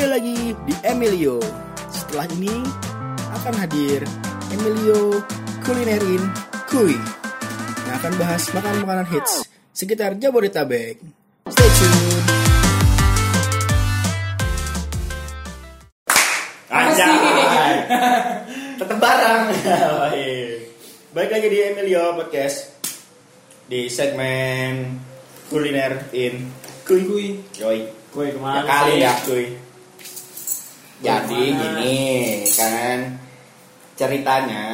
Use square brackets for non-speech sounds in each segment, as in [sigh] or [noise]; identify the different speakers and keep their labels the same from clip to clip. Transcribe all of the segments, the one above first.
Speaker 1: di Emilio. Setelah ini akan hadir Emilio Kulinerin Kui yang akan bahas makanan-makanan hits sekitar Jabodetabek. Stay tune.
Speaker 2: [laughs] Anjay. Tetep barang. Baik. Baik lagi di Emilio Podcast di segmen kuliner in kuy kuy yoi
Speaker 3: Kue
Speaker 2: ya
Speaker 3: kemana
Speaker 2: kali
Speaker 3: sih?
Speaker 2: ya kuy jadi
Speaker 3: Kemana?
Speaker 2: gini kan ceritanya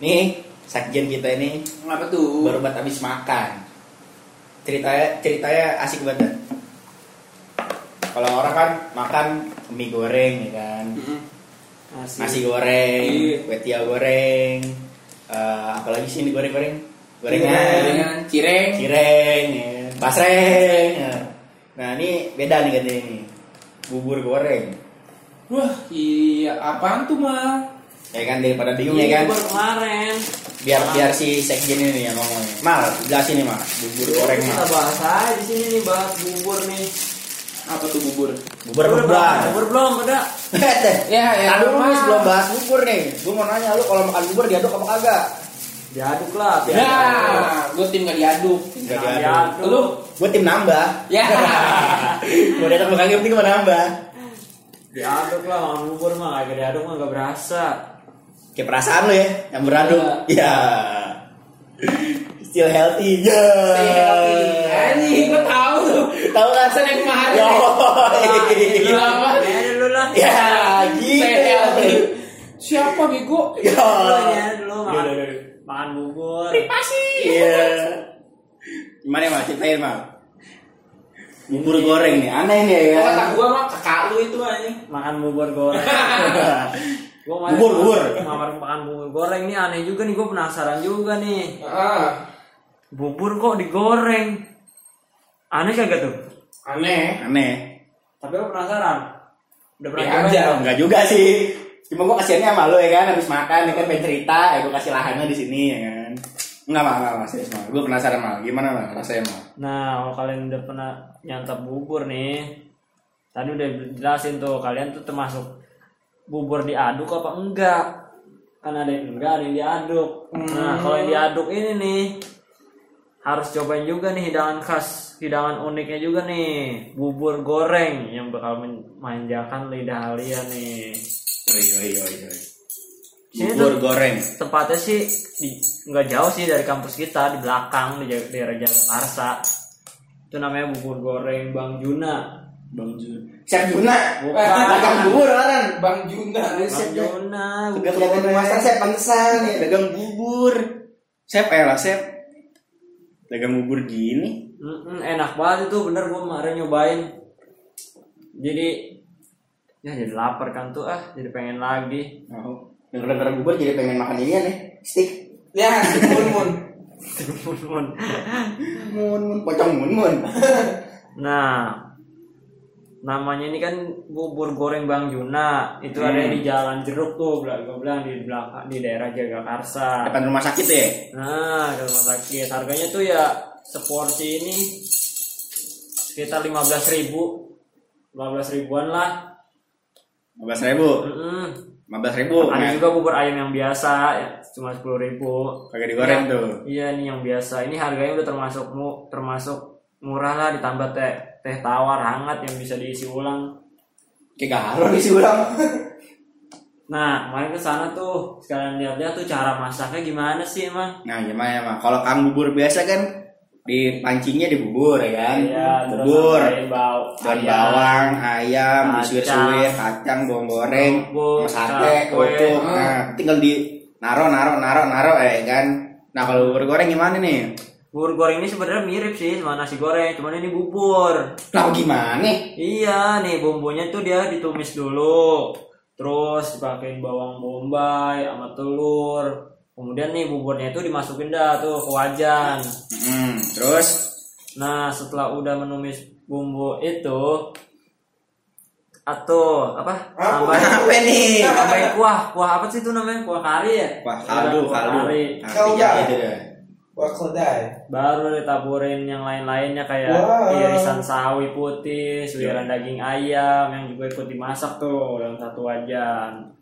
Speaker 2: nih sekjen kita ini
Speaker 3: Kenapa tuh?
Speaker 2: baru buat habis makan ceritanya ceritanya asik banget kalau orang kan makan mie goreng ya kan
Speaker 3: Mm-mm. Nasi.
Speaker 2: nasi goreng,
Speaker 3: Iya.
Speaker 2: kue tiaw goreng, eh, apalagi sih ini goreng-goreng, gorengan,
Speaker 3: Iya, Gorengan. Cireng.
Speaker 2: cireng, ya. basreng. ya. Nah ini beda nih katanya ini, bubur goreng,
Speaker 3: Wah, iya apaan tuh mah?
Speaker 2: ya kan daripada bingung ya kan,
Speaker 3: Baru kemarin.
Speaker 2: biar biar si sekjen ini nih yang ngomong. Mal, jelasin nih mal, bubur goreng mal,
Speaker 3: Kita bahas aja di sini nih bahas bubur nih. Apa tuh bubur?
Speaker 2: bubur Eh, berbelah. [laughs]
Speaker 3: Bubur belum ada. Ya, ya,
Speaker 2: Tadi lu
Speaker 3: Mal.
Speaker 2: sebelum bahas bubur nih, gue mau nanya lu kalau makan bubur diaduk apa kagak?
Speaker 3: Diaduk lah.
Speaker 2: Ya,
Speaker 3: Ya, gue tim gak diaduk.
Speaker 2: Nggak
Speaker 3: Jangan
Speaker 2: diaduk.
Speaker 3: Lu?
Speaker 2: Gue tim nambah.
Speaker 3: Ya.
Speaker 2: [laughs] Mau datang makan yang penting gua nambah.
Speaker 3: Diaduk lah, makan bubur mah gak diaduk mah gak berasa.
Speaker 2: Kayak perasaan lo ya, campur aduk.
Speaker 3: Iya.
Speaker 2: Ya. Iya. Still healthy. Ya. Eh.
Speaker 3: Ini gue tahu tuh.
Speaker 2: Tahu kan
Speaker 3: Saya yang kemarin.
Speaker 2: Yo.
Speaker 3: Gila apa? Ya dulu lah.
Speaker 2: Ya, gitu.
Speaker 3: Saya healthy. Siapa bego?
Speaker 2: Ya.
Speaker 3: Lu ya dulu makan,
Speaker 2: Iya, iya, iya.
Speaker 3: makan bubur.
Speaker 2: Iya. Gimana mal? Ceritain mal. Bubur goreng nih, aneh nih ya.
Speaker 3: Kok kata gua mah kakak lu itu anjing.
Speaker 4: makan bubur goreng gua makan-
Speaker 2: Bubur,
Speaker 3: [laughs]
Speaker 2: bubur.
Speaker 4: makan, makan bubur goreng ini aneh juga nih gue penasaran juga nih
Speaker 3: Ah,
Speaker 4: bubur kok digoreng aneh kagak tuh
Speaker 3: aneh.
Speaker 2: [laughs] Aneh. Iya,
Speaker 4: tapi gue penasaran udah pernah
Speaker 3: Ya
Speaker 4: cobain
Speaker 3: aja.
Speaker 4: belum?
Speaker 2: Enggak juga sih. Cuma gua kasihannya sama lo ya kan, habis makan ya kan pengen cerita, ya gua kasih lahannya di sini ya kan. Enggak mal, enggak mal, serius mal. Gua penasaran mal, gimana mal rasanya mal?
Speaker 4: nah kalau kalian udah pernah nyantap bubur nih tadi udah jelasin tuh kalian tuh termasuk bubur diaduk apa enggak kan ada yang enggak ada yang diaduk nah kalau yang diaduk ini nih harus cobain juga nih hidangan khas hidangan uniknya juga nih bubur goreng yang bakal memanjakan lidah kalian nih
Speaker 2: Oi, oi, oi, oi.
Speaker 4: Sini
Speaker 2: Bubur
Speaker 4: tuh.
Speaker 2: goreng.
Speaker 4: tempatnya sih di- nggak jauh sih dari kampus kita di belakang di ja- daerah Jakarta itu namanya bubur goreng Bang Juna
Speaker 2: Bang Jun. Chef Juna.
Speaker 4: Bukan.
Speaker 2: Dagang bubur orang.
Speaker 3: Bang Juna.
Speaker 4: Bang Juna
Speaker 2: Udah kelihatan master chef pantesan ya dagang bubur. Chef elah chef. Dagang bubur gini.
Speaker 4: Mm-mm, enak banget itu bener gue kemarin nyobain jadi ya jadi lapar kan tuh ah jadi pengen lagi
Speaker 2: Mau. Denger-denger bubur jadi pengen makan ini nih. Stick.
Speaker 3: Ya, si Mun Mun.
Speaker 2: Mun mun pocong mun mun.
Speaker 4: nah namanya ini kan bubur goreng Bang Juna itu ada
Speaker 2: Hmm.
Speaker 4: di Jalan Jeruk tuh bilang gue bilang di belakang di daerah Jagakarsa
Speaker 2: Depan rumah sakit ya.
Speaker 4: nah ke rumah sakit harganya tuh ya seporsi ini sekitar 15.000 ribu 15 ribuan lah
Speaker 2: 15 ribu. ya.
Speaker 4: Mm-mm.
Speaker 2: 15 ribu.
Speaker 4: Ada juga bubur ayam yang biasa, ya, cuma sepuluh ribu.
Speaker 2: Kagak digoreng tuh.
Speaker 4: Iya nih yang biasa. Ini harganya udah termasuk mu, termasuk murah lah ditambah teh teh tawar hangat yang bisa diisi ulang.
Speaker 2: Kayak garo nih sih ulang.
Speaker 4: Nah kemarin ke sana tuh sekalian lihat-lihat tuh cara masaknya gimana sih emang?
Speaker 2: Nah gimana mah? Kalau kang bubur biasa kan di pancingnya di bubur ya kan?
Speaker 4: Iya, terus
Speaker 2: bubur.
Speaker 4: tambahin bau, Iya.
Speaker 2: daun
Speaker 4: ayam.
Speaker 2: bawang, ayam,
Speaker 4: Kacang.
Speaker 2: disuir-suir, kacang, bawang goreng,
Speaker 4: Kerupuk,
Speaker 2: sama sate,
Speaker 4: cakwe.
Speaker 2: kerupuk. Nah, tinggal di naro, naro, naro, naro, eh kan. Nah kalau bubur goreng gimana nih?
Speaker 4: Bubur goreng ini sebenarnya mirip sih sama nasi goreng, cuman ini bubur.
Speaker 2: Nah gimana?
Speaker 4: Iya nih bumbunya tuh dia ditumis dulu Terus dipakein bawang bombay sama telur Kemudian nih buburnya itu dimasukin dah tuh ke wajan
Speaker 2: Hmm, terus
Speaker 4: Nah setelah udah menumis bumbu itu Atau apa? Tambahin,
Speaker 2: apa nih?
Speaker 4: tambahin kuah Kuah apa sih itu namanya? Kuah kari ya?
Speaker 2: Wah
Speaker 4: Iya,
Speaker 2: kaldu, kaldu.
Speaker 4: kari.
Speaker 2: Nah,
Speaker 3: Kau
Speaker 2: tiga
Speaker 3: udah.
Speaker 2: gitu deh.
Speaker 5: What could I?
Speaker 4: baru ditaburin yang lain-lainnya kayak
Speaker 5: Wow.
Speaker 4: irisan sawi
Speaker 2: Iya.
Speaker 4: putih, suiran daging ayam yang juga ikut dimasak tuh dalam satu wajan.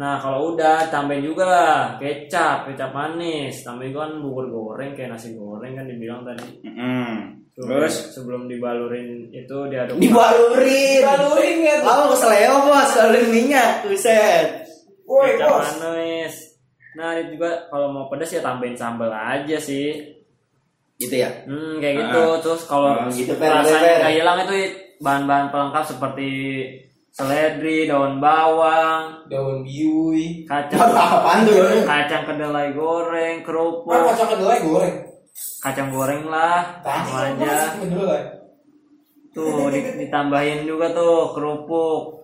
Speaker 4: Nah kalau udah tambahin juga lah kecap, kecap manis, tambahin juga kan bubur goreng kayak nasi goreng kan dibilang tadi.
Speaker 2: Mm-mm.
Speaker 4: Sebelum-
Speaker 2: Terus
Speaker 4: sebelum dibalurin itu diaduk.
Speaker 2: dibalurin.
Speaker 3: Balurin nggak tuh?
Speaker 2: Lama keseleo bos, balurin ya, minyak, buset.
Speaker 3: Woi
Speaker 4: kecap
Speaker 3: bos.
Speaker 4: manis. Nah itu juga kalau mau pedas ya tambahin sambal aja sih.
Speaker 2: Gitu ya.
Speaker 4: Hmm, kayak gitu. Terus kalau
Speaker 2: Ah, gitu, Per,
Speaker 4: rasanya
Speaker 2: Per.
Speaker 4: nggak hilang itu bahan-bahan pelengkap seperti seledri, daun bawang,
Speaker 3: Daun biuy.
Speaker 4: kacang
Speaker 2: Apaan tuh?
Speaker 4: kacang kedelai
Speaker 5: Mah
Speaker 4: goreng, kerupuk,
Speaker 5: kocok kedelai goreng.
Speaker 4: kacang goreng lah,
Speaker 5: Tadi
Speaker 4: sama
Speaker 5: kan
Speaker 4: aja.
Speaker 5: kocok kedelai.
Speaker 4: Tuh di- ditambahin juga tuh kerupuk.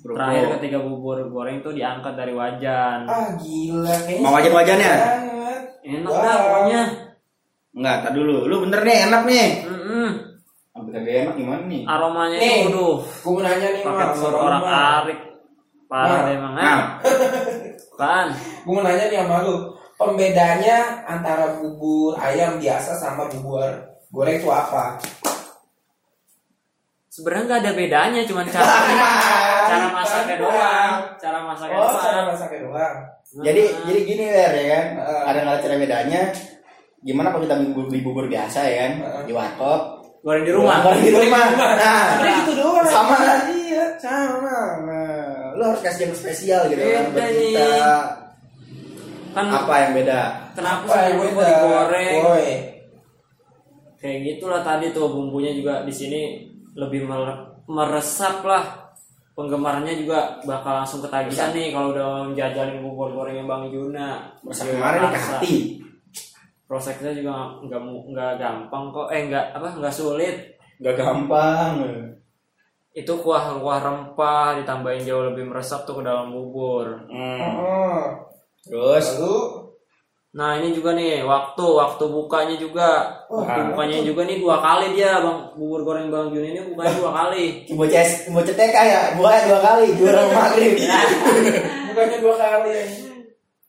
Speaker 2: Kerupuk.
Speaker 4: Terakhir ketika bubur goreng tuh diangkat dari wajan.
Speaker 5: Ah gila kayaknya.
Speaker 2: Mau wajan-wajannya?
Speaker 5: Banget.
Speaker 4: Enak
Speaker 5: Wow.
Speaker 4: dah pokoknya.
Speaker 2: Enggak, tak dulu. Lu bener deh, enak nih.
Speaker 4: Mm-mm.
Speaker 2: Bener deh, enak gimana nih?
Speaker 4: Aromanya
Speaker 5: Nih.
Speaker 4: itu aduh,
Speaker 5: Gue mau nanya nih
Speaker 4: pakai
Speaker 5: mas.
Speaker 4: telur orang arik. Parah memang
Speaker 2: Nah,
Speaker 4: ah. Kan.
Speaker 5: Gue mau nanya nih sama lu. Pembedanya antara bubur ayam biasa sama bubur goreng itu apa?
Speaker 4: sebenarnya nggak ada bedanya cuman
Speaker 2: [laughs]
Speaker 4: cara cara masaknya doang cara masaknya
Speaker 5: Oh,
Speaker 4: doang
Speaker 5: cara masaknya doang. Eh,
Speaker 2: jadi jadi gini Ler, ya kan. Ada nggak cara bedanya? Gimana kalau kita beli bubur biasa ya kan? Di warkop.
Speaker 4: goreng di rumah
Speaker 2: Goreng di rumah. Nah,
Speaker 5: Sebenarnya gitu doang.
Speaker 2: Sama.
Speaker 5: Iya, sama.
Speaker 2: Nah, lu harus kasih yang spesial gitu kan
Speaker 4: Beda
Speaker 2: buat
Speaker 4: nih.
Speaker 2: kita.
Speaker 4: Iya, kan
Speaker 2: Apa yang beda?
Speaker 4: kenapa
Speaker 5: Apa
Speaker 4: sih
Speaker 5: yang
Speaker 4: bumbu
Speaker 5: beda?
Speaker 4: digoreng
Speaker 5: Woi.
Speaker 4: kayak gitulah tadi tuh bumbunya juga di sini lebih mer- meresap lah penggemarnya juga bakal langsung ketagihan nih kalau udah menjajalin bubur gorengnya Bang Juna
Speaker 2: Masa
Speaker 4: Dia
Speaker 2: kemarin nih ke
Speaker 4: rasa.
Speaker 2: hati.
Speaker 4: prosesnya juga nggak- nggak mu- nggak gampang kok eh nggak apa nggak sulit
Speaker 2: Gak gampang.
Speaker 4: itu kuah kuah rempah ditambahin jauh lebih meresap tuh ke dalam bubur
Speaker 2: Hmm.
Speaker 5: Oh.
Speaker 2: Terus
Speaker 5: Lalu
Speaker 4: Nah ini juga nih waktu waktu bukanya juga waktu bukanya juga nih dua kali dia bang bubur goreng bang Jun ini bukanya dua kali.
Speaker 2: Coba CS, coba cetek ya, gua dua kali, juara maghrib.
Speaker 5: bukannya dua kali.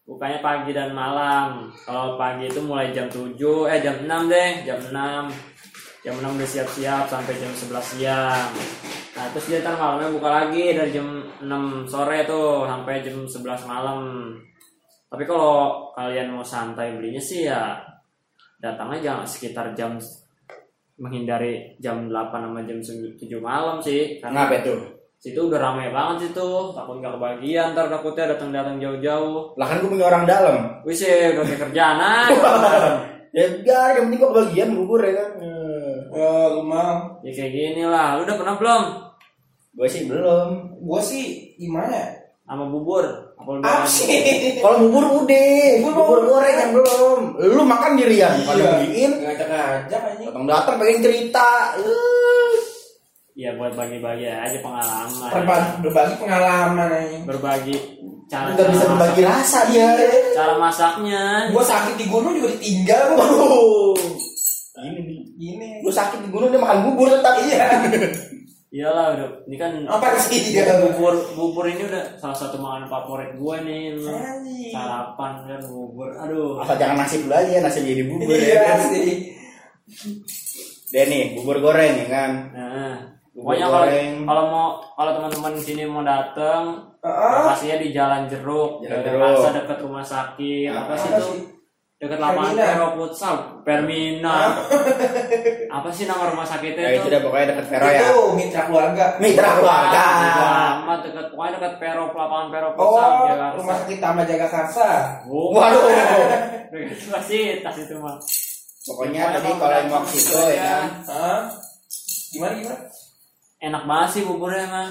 Speaker 4: Bukanya pagi dan malam. Kalau pagi itu mulai jam 7 eh jam 6 deh jam 6 jam 6 udah siap-siap sampai jam 11 siang. Nah terus dia ntar malamnya buka lagi dari jam 6 sore tuh sampai jam 11 malam. Tapi kalau kalian mau santai belinya sih ya datangnya jangan sekitar jam menghindari jam 8 sama jam 7 malam sih karena
Speaker 2: Kenapa itu?
Speaker 4: situ udah ramai banget situ takut nggak kebagian ntar takutnya datang-datang jauh-jauh
Speaker 2: Lah kan gua punya orang dalam.
Speaker 4: wih sih eh, udah kayak kerjaan aja.
Speaker 2: [laughs] Ya biar yang penting gua kebagian bubur ya kan. Eh,
Speaker 5: Eh, lu mau?
Speaker 4: ya kayak gini lah lu udah pernah belum
Speaker 2: Gua sih belum.
Speaker 5: Gue sih gimana? ya?
Speaker 4: sama bubur apa lu
Speaker 5: Apa
Speaker 4: doang?
Speaker 5: sih? [laughs]
Speaker 2: Kalau bubur udah, Iya.
Speaker 5: Bubur
Speaker 2: bubur
Speaker 5: mau-
Speaker 2: goreng yang belum. Lu makan dirian, kalau beliin
Speaker 5: Ngajak-ngajak aja.
Speaker 2: datang datang pengen cerita. Eh.
Speaker 4: ya buat bagi-bagi aja pengalaman
Speaker 5: Berbagi, berbagi pengalaman aja.
Speaker 4: berbagi cara
Speaker 2: Nggak bisa
Speaker 4: cara
Speaker 2: berbagi rasa dia.
Speaker 4: masak- cara masaknya
Speaker 5: Gue sakit di gunung juga ditinggal [laughs] gua.
Speaker 2: Oh. Ini nih.
Speaker 5: Gini.
Speaker 2: Lu sakit di gunung dia makan bubur tetap iya.
Speaker 4: iyalah udah ini kan
Speaker 5: Apa sih?
Speaker 4: bubur bubur ini udah salah satu makanan favorit gue nih
Speaker 5: Anjing.
Speaker 4: sarapan kan bubur aduh
Speaker 2: Apa jangan nasi dulu aja, nasi jadi bubur ya.
Speaker 5: [laughs] Iya
Speaker 2: kan?
Speaker 5: sih.
Speaker 2: Deh nih, bubur goreng ya kan.
Speaker 4: Nah,
Speaker 2: Bubur
Speaker 4: pokoknya kalau
Speaker 2: goreng.
Speaker 4: kalau mau kalau teman-teman di sini mau datang,
Speaker 5: Heeh.
Speaker 4: lokasinya di Jalan Jeruk,
Speaker 2: Jalan
Speaker 4: Jalan
Speaker 2: Jeruk.
Speaker 4: Plaza dekat rumah sakit, apa sih
Speaker 5: apa
Speaker 4: itu?
Speaker 5: sih?
Speaker 4: Dekat lapangan
Speaker 5: Permina.
Speaker 4: Vero Futsal, Permina. [laughs] apa sih nama rumah sakitnya
Speaker 2: Ya
Speaker 4: itu?
Speaker 2: itu dah pokoknya dekat Vero ya.
Speaker 5: Itu mitra keluarga.
Speaker 2: Mitra keluarga.
Speaker 4: Ah, bodo amat dekat pokoknya dekat Vero lapangan Vero Futsal
Speaker 5: Oh,
Speaker 4: Jakarta.
Speaker 5: rumah sakit Tama Jaga Karsa.
Speaker 4: Oh,
Speaker 2: Waduh.
Speaker 4: [laughs] dekat fasilitas itu mah.
Speaker 2: Pokoknya tadi kalau yang mau ke situ ya kan.
Speaker 5: Hah? Gimana gimana?
Speaker 4: Enak banget sih buburnya emang.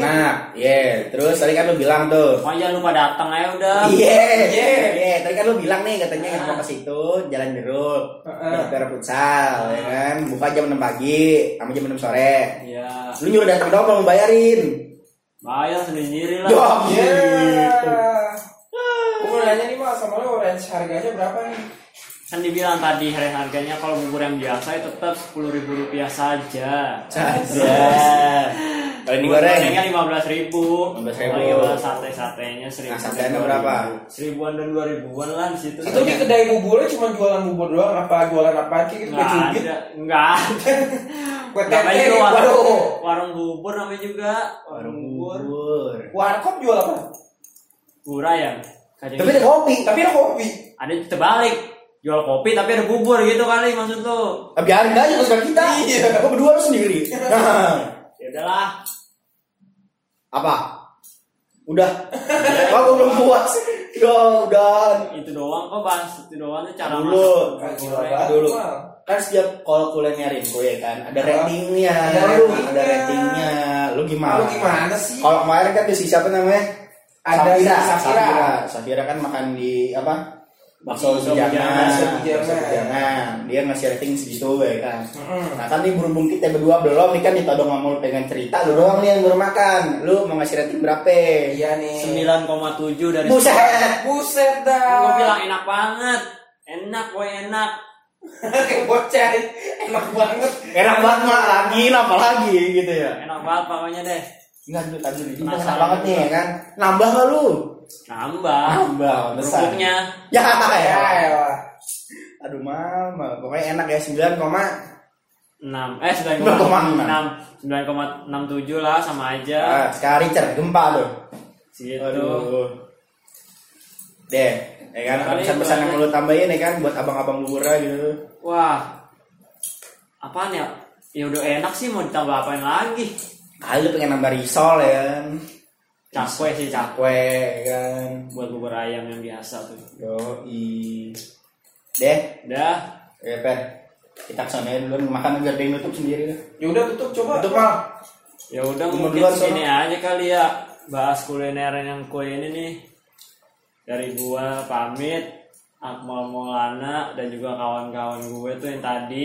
Speaker 2: Enak. Iya, terus tadi kan lu bilang tuh.
Speaker 4: Pokoknya jangan lupa datang aja udah.
Speaker 2: Iya, iya, iya. Tadi kan lu bilang nih katanya kan mau ke situ jalan jeruk,
Speaker 5: Heeh.
Speaker 2: dokter futsal, ya kan. Buka jam 6 pagi sama jam 6 sore.
Speaker 4: Iya,
Speaker 2: Lu nyuruh datang doang belum bayarin.
Speaker 4: bayar sendiri lah.
Speaker 2: Doang.
Speaker 5: Iya. Ah. Gue mau nanya nih mas, sama lo range harganya berapa nih?
Speaker 4: kan dibilang tadi hari harganya [laughs]
Speaker 5: Iya.
Speaker 4: kalau bubur yang biasa itu tetap sepuluh ribu rupiah saja
Speaker 2: Saja. Oh, ini goreng.
Speaker 4: gorengnya lima belas ribu
Speaker 2: 15.000.
Speaker 4: sate satenya
Speaker 2: Nah,
Speaker 4: seribu
Speaker 2: satenya berapa?
Speaker 4: seribuan dan dua ribuan lah di situ
Speaker 5: Itu di kedai buburnya cuma jualan bubur doang apa jualan apa sih? Gitu,
Speaker 4: nggak
Speaker 5: cubit.
Speaker 4: ada nggak ada
Speaker 5: Kue
Speaker 4: namanya
Speaker 5: tete,
Speaker 4: juga warung
Speaker 5: waduh.
Speaker 4: warung bubur namanya juga warung bubur
Speaker 2: Bubur.
Speaker 5: Warkop jual apa?
Speaker 4: murah ya Kacang
Speaker 5: Tapi ada kopi. Tapi ada kopi.
Speaker 4: ada terbalik jual kopi tapi ada bubur gitu kali maksud lu
Speaker 2: Ah, biarin aja lu suka kita. Iya. Gua berdua lu sendiri. Nah,
Speaker 4: ya udahlah
Speaker 2: apa? Udah. Wah, gua belum puas. Ya udah.
Speaker 4: itu doang kok bang itu doang tuh cara
Speaker 2: Dulu.
Speaker 5: Kan
Speaker 4: masak
Speaker 5: jual
Speaker 4: goreng.
Speaker 5: apa?
Speaker 2: Dulu.
Speaker 5: Mahal.
Speaker 2: Kan setiap kalau kulinerin kue kan ada ratingnya.
Speaker 5: Ada ratingnya.
Speaker 2: Ada ratingnya. Lu gimana?
Speaker 5: Lu gimana sih?
Speaker 2: Kalau kemarin kan di si siapa namanya?
Speaker 5: Ada si
Speaker 2: Safira.
Speaker 5: Safira.
Speaker 2: Safira. Safira kan makan di apa? Bakso
Speaker 4: Bakso
Speaker 2: bijangan,
Speaker 5: Bakso
Speaker 2: bakso
Speaker 5: Bijangan.
Speaker 2: bijangan. Dia ngasih rating segitu ya kan.
Speaker 5: Mm-mm.
Speaker 2: Nah kan nih berhubung kita berdua belum nih kan ditodong sama lu pengen cerita lu doang nih yang baru makan. Lu mau ngasih rating berapa?
Speaker 5: Iya nih. Eh,
Speaker 4: 9,7 dari
Speaker 2: Buset.
Speaker 5: Buset
Speaker 4: Gue
Speaker 5: dah.
Speaker 4: bilang enak banget. Enak, woi enak.
Speaker 5: [laughs] Kayak bocah. Enak banget.
Speaker 2: Enak banget mak lagi lah apalagi gitu ya.
Speaker 4: Enak banget pokoknya deh.
Speaker 2: Enggak dulu tadi dulu. Ini
Speaker 4: Penasaran
Speaker 2: enak banget nih
Speaker 4: juga.
Speaker 2: ya kan. Nambah gak lu?
Speaker 4: Nambah.
Speaker 2: Nambah besar.
Speaker 4: Kerupuknya.
Speaker 2: Ya
Speaker 5: Ya
Speaker 2: ya.
Speaker 5: elah.
Speaker 2: Aduh mama, pokoknya enak ya 9, koma
Speaker 4: 6 eh 9,6 9,67 lah sama aja Gitu.
Speaker 2: ah, sekali cer gempa tuh.
Speaker 4: segitu
Speaker 2: Aduh. Deh, ya kan ada pesan-pesan yang lu tambahin ya kan buat abang-abang buburnya gitu.
Speaker 4: wah apaan ya ya udah enak sih mau ditambah apain lagi
Speaker 2: Kali lu pengen nambah risol ya kan.
Speaker 4: cakwe sih cakwe
Speaker 2: Kue ya kan.
Speaker 4: buat bubur ayam yang biasa tuh
Speaker 2: Yoi. Deh,
Speaker 4: udah
Speaker 2: ya Peh. Kita kesana dulu makan biar dia nutup sendiri.
Speaker 5: Yaudah Ya tutup coba.
Speaker 2: Tutup mal.
Speaker 4: ya udah
Speaker 2: Gua
Speaker 4: mungkin
Speaker 2: duluan,
Speaker 4: segini aja kali ya bahas kuliner yang kue ini nih dari gua pamit Akmal Maulana dan juga kawan-kawan gue tuh yang tadi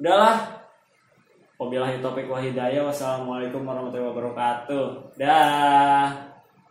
Speaker 4: udahlah Wabillahi topik wa hidayah. Wassalamualaikum warahmatullahi wabarakatuh. Dah.